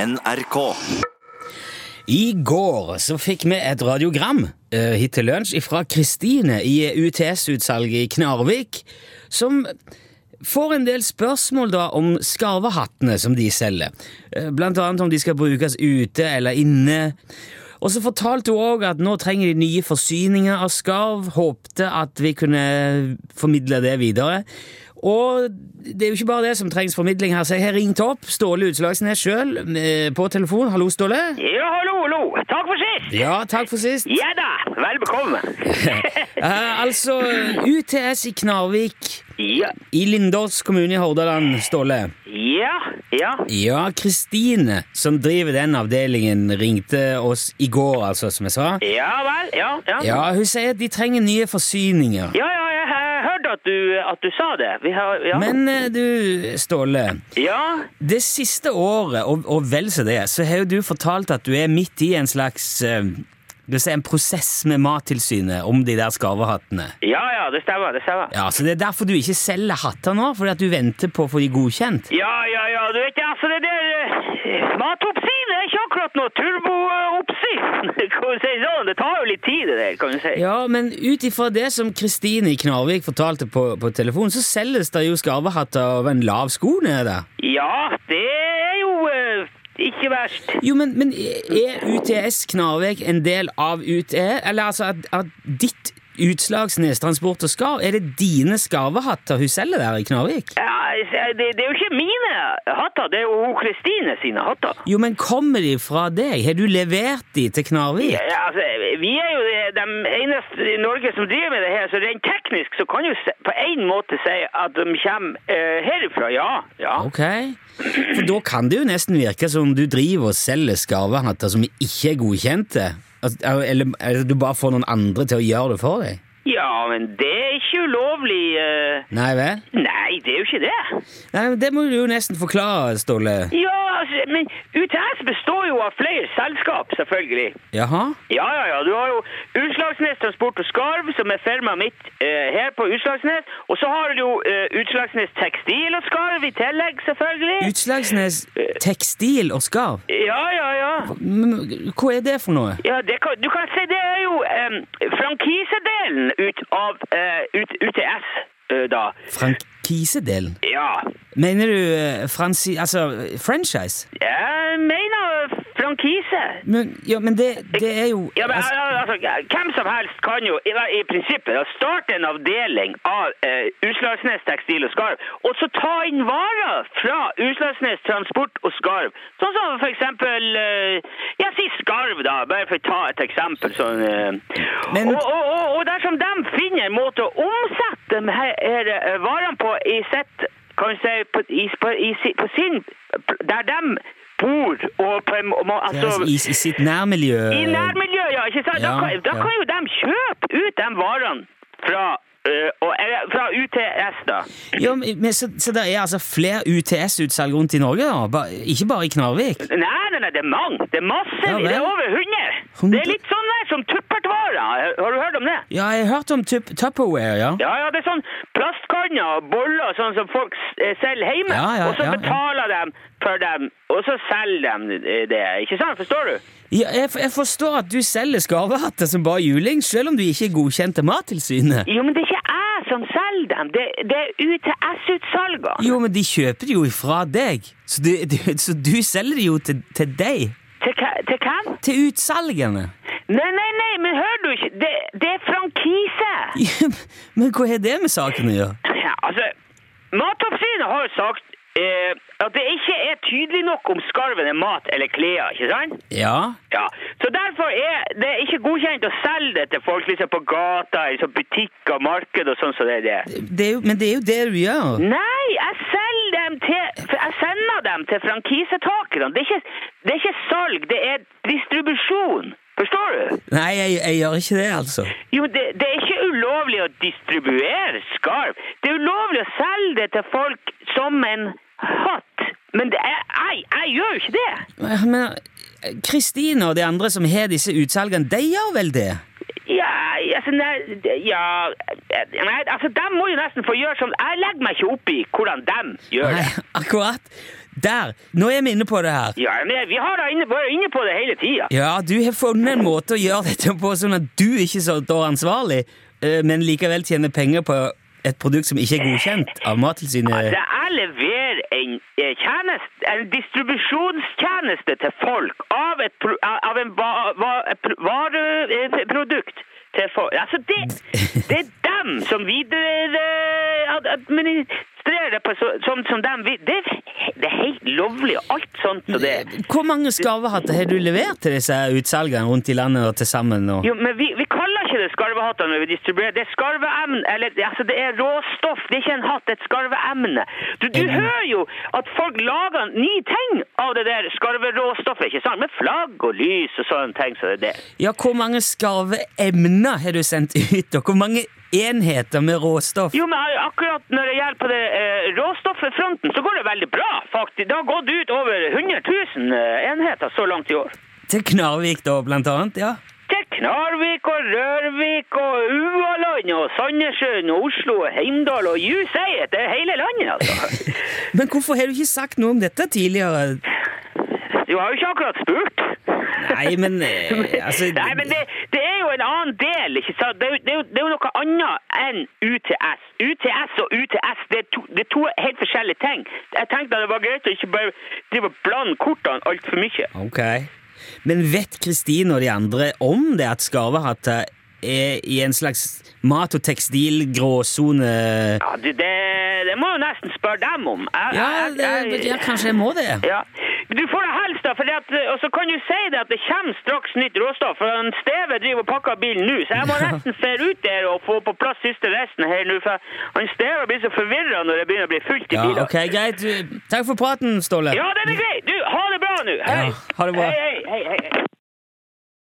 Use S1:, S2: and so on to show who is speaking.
S1: NRK.
S2: I går så fikk vi et radiogram eh, hit til lunsj fra Kristine i UTS-utsalget i Knarvik, som får en del spørsmål da om skarvehattene som de selger. Eh, blant annet om de skal brukes ute eller inne. Og så fortalte hun òg at nå trenger de nye forsyninger av skarv. Håpte at vi kunne formidle det videre. Og det er jo ikke bare det som trengs formidling her, så jeg har ringt opp Ståle Utslagsnes sjøl på telefon. Hallo, Ståle.
S3: Ja, hallo, hallo. Takk for sist.
S2: Ja, takk for sist.
S3: Ja da, vel bekomme.
S2: Eh, altså, UTS i Knarvik,
S3: ja,
S2: i Lindås kommune i Hordaland, Ståle.
S3: ja, ja.
S2: Ja, Kristine, som driver den avdelingen, ringte oss i går, altså, som jeg sa.
S3: Ja vel, ja, ja. Ja,
S2: Ja, hun sier at de trenger nye forsyninger.
S3: ja, jeg har hørt at du, at du sa det. Vi har, ja.
S2: Men eh, du, Ståle,
S3: Ja,
S2: det siste året, og, og vel så det, så har jo du fortalt at du er midt i en slags eh, du ser en prosess med Mattilsynet om de der skarvehattene.
S3: ja, ja, det stemmer, det stemmer.
S2: Ja, Så det er derfor du ikke selger hatter nå? Fordi at du venter på å få de godkjent?
S3: Ja, ja, ja, du vet ikke, altså det der eh, matopsin det er ikke akkurat noe turbo-oppsin. Kan du si sånn? Det tar jo litt tid det der, kan du si.
S2: Ja, men ut ifra det som Kristine i Knarvik fortalte på, på telefon, så selges det jo skarvehatter av en lav sko nede.
S3: Ja, det er jo eh, ikke verst.
S2: Jo, men, men er UTS Knarvik en del av UTE? Eller altså at, at ditt Utslagsnes Transport og Skarv, er det dine skarvehatter hun selger der i Knarvik?
S3: Ja, det, det er jo ikke mine hatter, det er jo Kristine sine hatter.
S2: Jo, men kommer de fra deg? Har du levert de til Knarvik?
S3: Ja, altså, vi er jo de, de eneste i Norge som driver med det her, så rent teknisk så kan du se- på en måte si at de kommer eh, herifra, ja. ja.
S2: Ok. For da kan det jo nesten virke som om du driver og selger skarvehatter som ikke er godkjente. Altså, Eller, eller du bare får noen andre til å gjøre det for deg.
S3: Ja, men det er ikke ulovlig. eh,
S2: Nei vel?
S3: Nei, det er jo ikke det.
S2: Nei, men Det må du jo nesten forklare, Ståle.
S3: Ja, altså, men UTS består jo av flere selskap, selvfølgelig.
S2: Jaha?
S3: Ja, ja, ja. Du har jo Utslagsnes Transport og Skarv, som er firmaet mitt eh, her på Utslagsnes. Og så har du jo eh, Utslagsnes Tekstil og Skarv i tillegg, selvfølgelig.
S2: Utslagsnes tekstil og skarv?
S3: ja, ja, ja.
S2: Men Hva er det for noe?
S3: ja det kan, du kan si det er jo eh, frankisedelen ut av eh, ut, UTS, eh, da.
S2: Frankisedelen?
S3: Ja.
S2: Mener du eh, fransi... Altså franchise?
S3: Jeg mener frankise.
S2: Men, ja, men det, det er jo
S3: Ja, men
S2: altså,
S3: al- altså, Hvem som helst kan jo i, i prinsippet da, starte en avdeling av eh, Utslagsnes tekstil og skarv, og så ta inn varer fra Utslagsnes transport og skarv. Sånn som for eksempel eh, Jeg sier skarv, da, bare for å ta et eksempel. Sånn, eh.
S2: Men-
S3: og, og, og, og dersom de finner en måte å omsette de her, her eh, varene på i sitt kan vi si, på, i, på, i, si- på sin Der de bor og på en må, altså,
S2: i, I sitt nærmiljø
S3: i nærmiljøet, ja. ikke sant? Da,
S2: Eh, Ja,
S3: kan, da
S2: ja.
S3: kan jo de kjøpe ut de varene fra, eh, og, eller, fra UTS, da.
S2: Ja, men, men så, så det er altså flere UTS-utsalg rundt i Norge, da? Ba, ikke bare i Knarvik?
S3: Nei, nei, nei, det er mange. Det er masse.
S2: Ja, vel.
S3: det er over 100.
S2: Hundre?
S3: Det er litt sånn der som tuppertvarer. Har du hørt om det?
S2: Ja, jeg har hørt om tup Tupperware, ja.
S3: Ja, ja, det er sånn plastkanner og boller sånn som folk s- eh, selger hjemme.
S2: Ja, ja,
S3: og så
S2: ja, ja.
S3: betaler de for dem, og så selger de eh, det. Ikke sant? Forstår du?
S2: ja jeg, f- jeg forstår at du selger skarvehatter som bare juling, selv om du ikke er godkjent til Mattilsynet.
S3: Jo, men det er ikke jeg som selger dem. Det, det er UTS-utsalgene.
S2: Jo, men de kjøper det jo fra deg, så du, du, så du selger det jo til, til deg.
S3: Til, hva- til hvem?
S2: Til utsalgene.
S3: Nei, nei, nei, men hører du ikke? Det, det er frankise!
S2: Ja, men hva har det med saken å gjøre?
S3: Ja, altså, Matoppsynet har jo sagt eh, at det ikke er tydelig nok om skarven er mat eller klær, ikke sant?
S2: Ja,
S3: Ja, Så derfor er det ikke godkjent å selge det til folk liksom på gata, i sånn butikker, marked og sånn som det er. det.
S2: det er jo, men det er jo det du gjør.
S3: Nei, jeg selger dem til for Jeg sender dem til frankisetakerne. Det, er ikke- det er ikke salg, det er distribusjon. Forstår du?
S2: Nei, jeg, jeg gjør ikke det, altså.
S3: Jo, det, det er ikke ulovlig å distribuere skarv. Det er ulovlig å selge det til folk som en hatt. Men det er, jeg, jeg gjør jo ikke det.
S2: Men Kristine og de andre som har disse utsalgene, de gjør vel det?
S3: Ja, altså, nei, det- ja, nei, altså, De må jo nesten få gjøre som Jeg legger meg ikke opp i hvordan de gjør
S2: Nei,
S3: det.
S2: akkurat. Der! Nå er vi inne på det her.
S3: Ja, men vi har da inne, vært inne på det hele tida.
S2: Ja, du har funnet en måte å gjøre dette på, sånn at du ikke står ansvarlig, eh, men likevel tjener penger på et produkt som ikke er godkjent av Mattilsynet.
S3: Altså, jeg leverer en, eh, tjeneste, en distribusjonstjeneste til folk av et, pro- av en va- va- et pro- vareprodukt til folk. Altså, det, det er dem som videre eh, ad- administrerer det på så, sånn som dem vil. Det, er- det er helt lovlig, alt sånt som det.
S2: Hvor mange skarvehatter har du levert til disse utsalgene rundt i landet nå til sammen? nå?
S3: Jo, men vi, vi kaller ikke det skarvehatter når vi distribuerer. Det er skarveemne, eller altså det er råstoff. Det er ikke en hatt, det er et skarveemne. Du, du
S2: Emne.
S3: hører jo at folk lager nye ting av det der skarveråstoffet, ikke sant? Med flagg og lys og sånne ting som så det er det.
S2: Ja, hvor mange skarveemner har du sendt ut, og hvor mange enheter med råstoff?
S3: Jo, men akkurat når det gjelder på det eh, råstofffronten, så går det veldig bra, faktisk. Det har gått ut over 100 000 eh, enheter så langt i år.
S2: Til Knarvik, da, blant annet? Ja.
S3: Til Knarvik og Rørvik og Ualand og Sandnessjøen og Oslo og Heimdal og you say it! Det er hele landet, altså.
S2: Men hvorfor har du ikke sagt noe om dette tidligere?
S3: Du har jo ikke akkurat spurt.
S2: Nei, men, eh, altså-
S3: Nei, men det, det er jo en annen del, ikke sant? Det er, jo- det er, jo- det er jo noe annet enn UTS. UTS og UTS, det er to, det er to helt forskjellige ting. Jeg tenkte at det var greit å ikke bare drive og blande kortene altfor mye.
S2: Ok. Men vet Kristine og de andre om det at skarvehatter er i en slags mat- og tekstilgråsone?
S3: Ja, det, det, det må jo nesten spørre dem om. Jeg-
S2: Ja,
S3: jeg-
S2: det,
S3: jeg-
S2: ja, kanskje jeg må det.
S3: Ja. Du får det helst, da. For det at, og så kan du si det at det kommer straks nytt råstoff. For han Steve driver og pakker bilen nå, så jeg må nesten se ut der og få på plass siste resten her nå. For han Steve blir så forvirra når det begynner å bli fullt i bilen.
S2: Ja, ok, greit. Du, Takk for praten, Ståle.
S3: Ja, den er grei! Du, ha det bra nå! Hei!
S2: Ja, ha det bra.
S3: Hei, hei, hei, hei.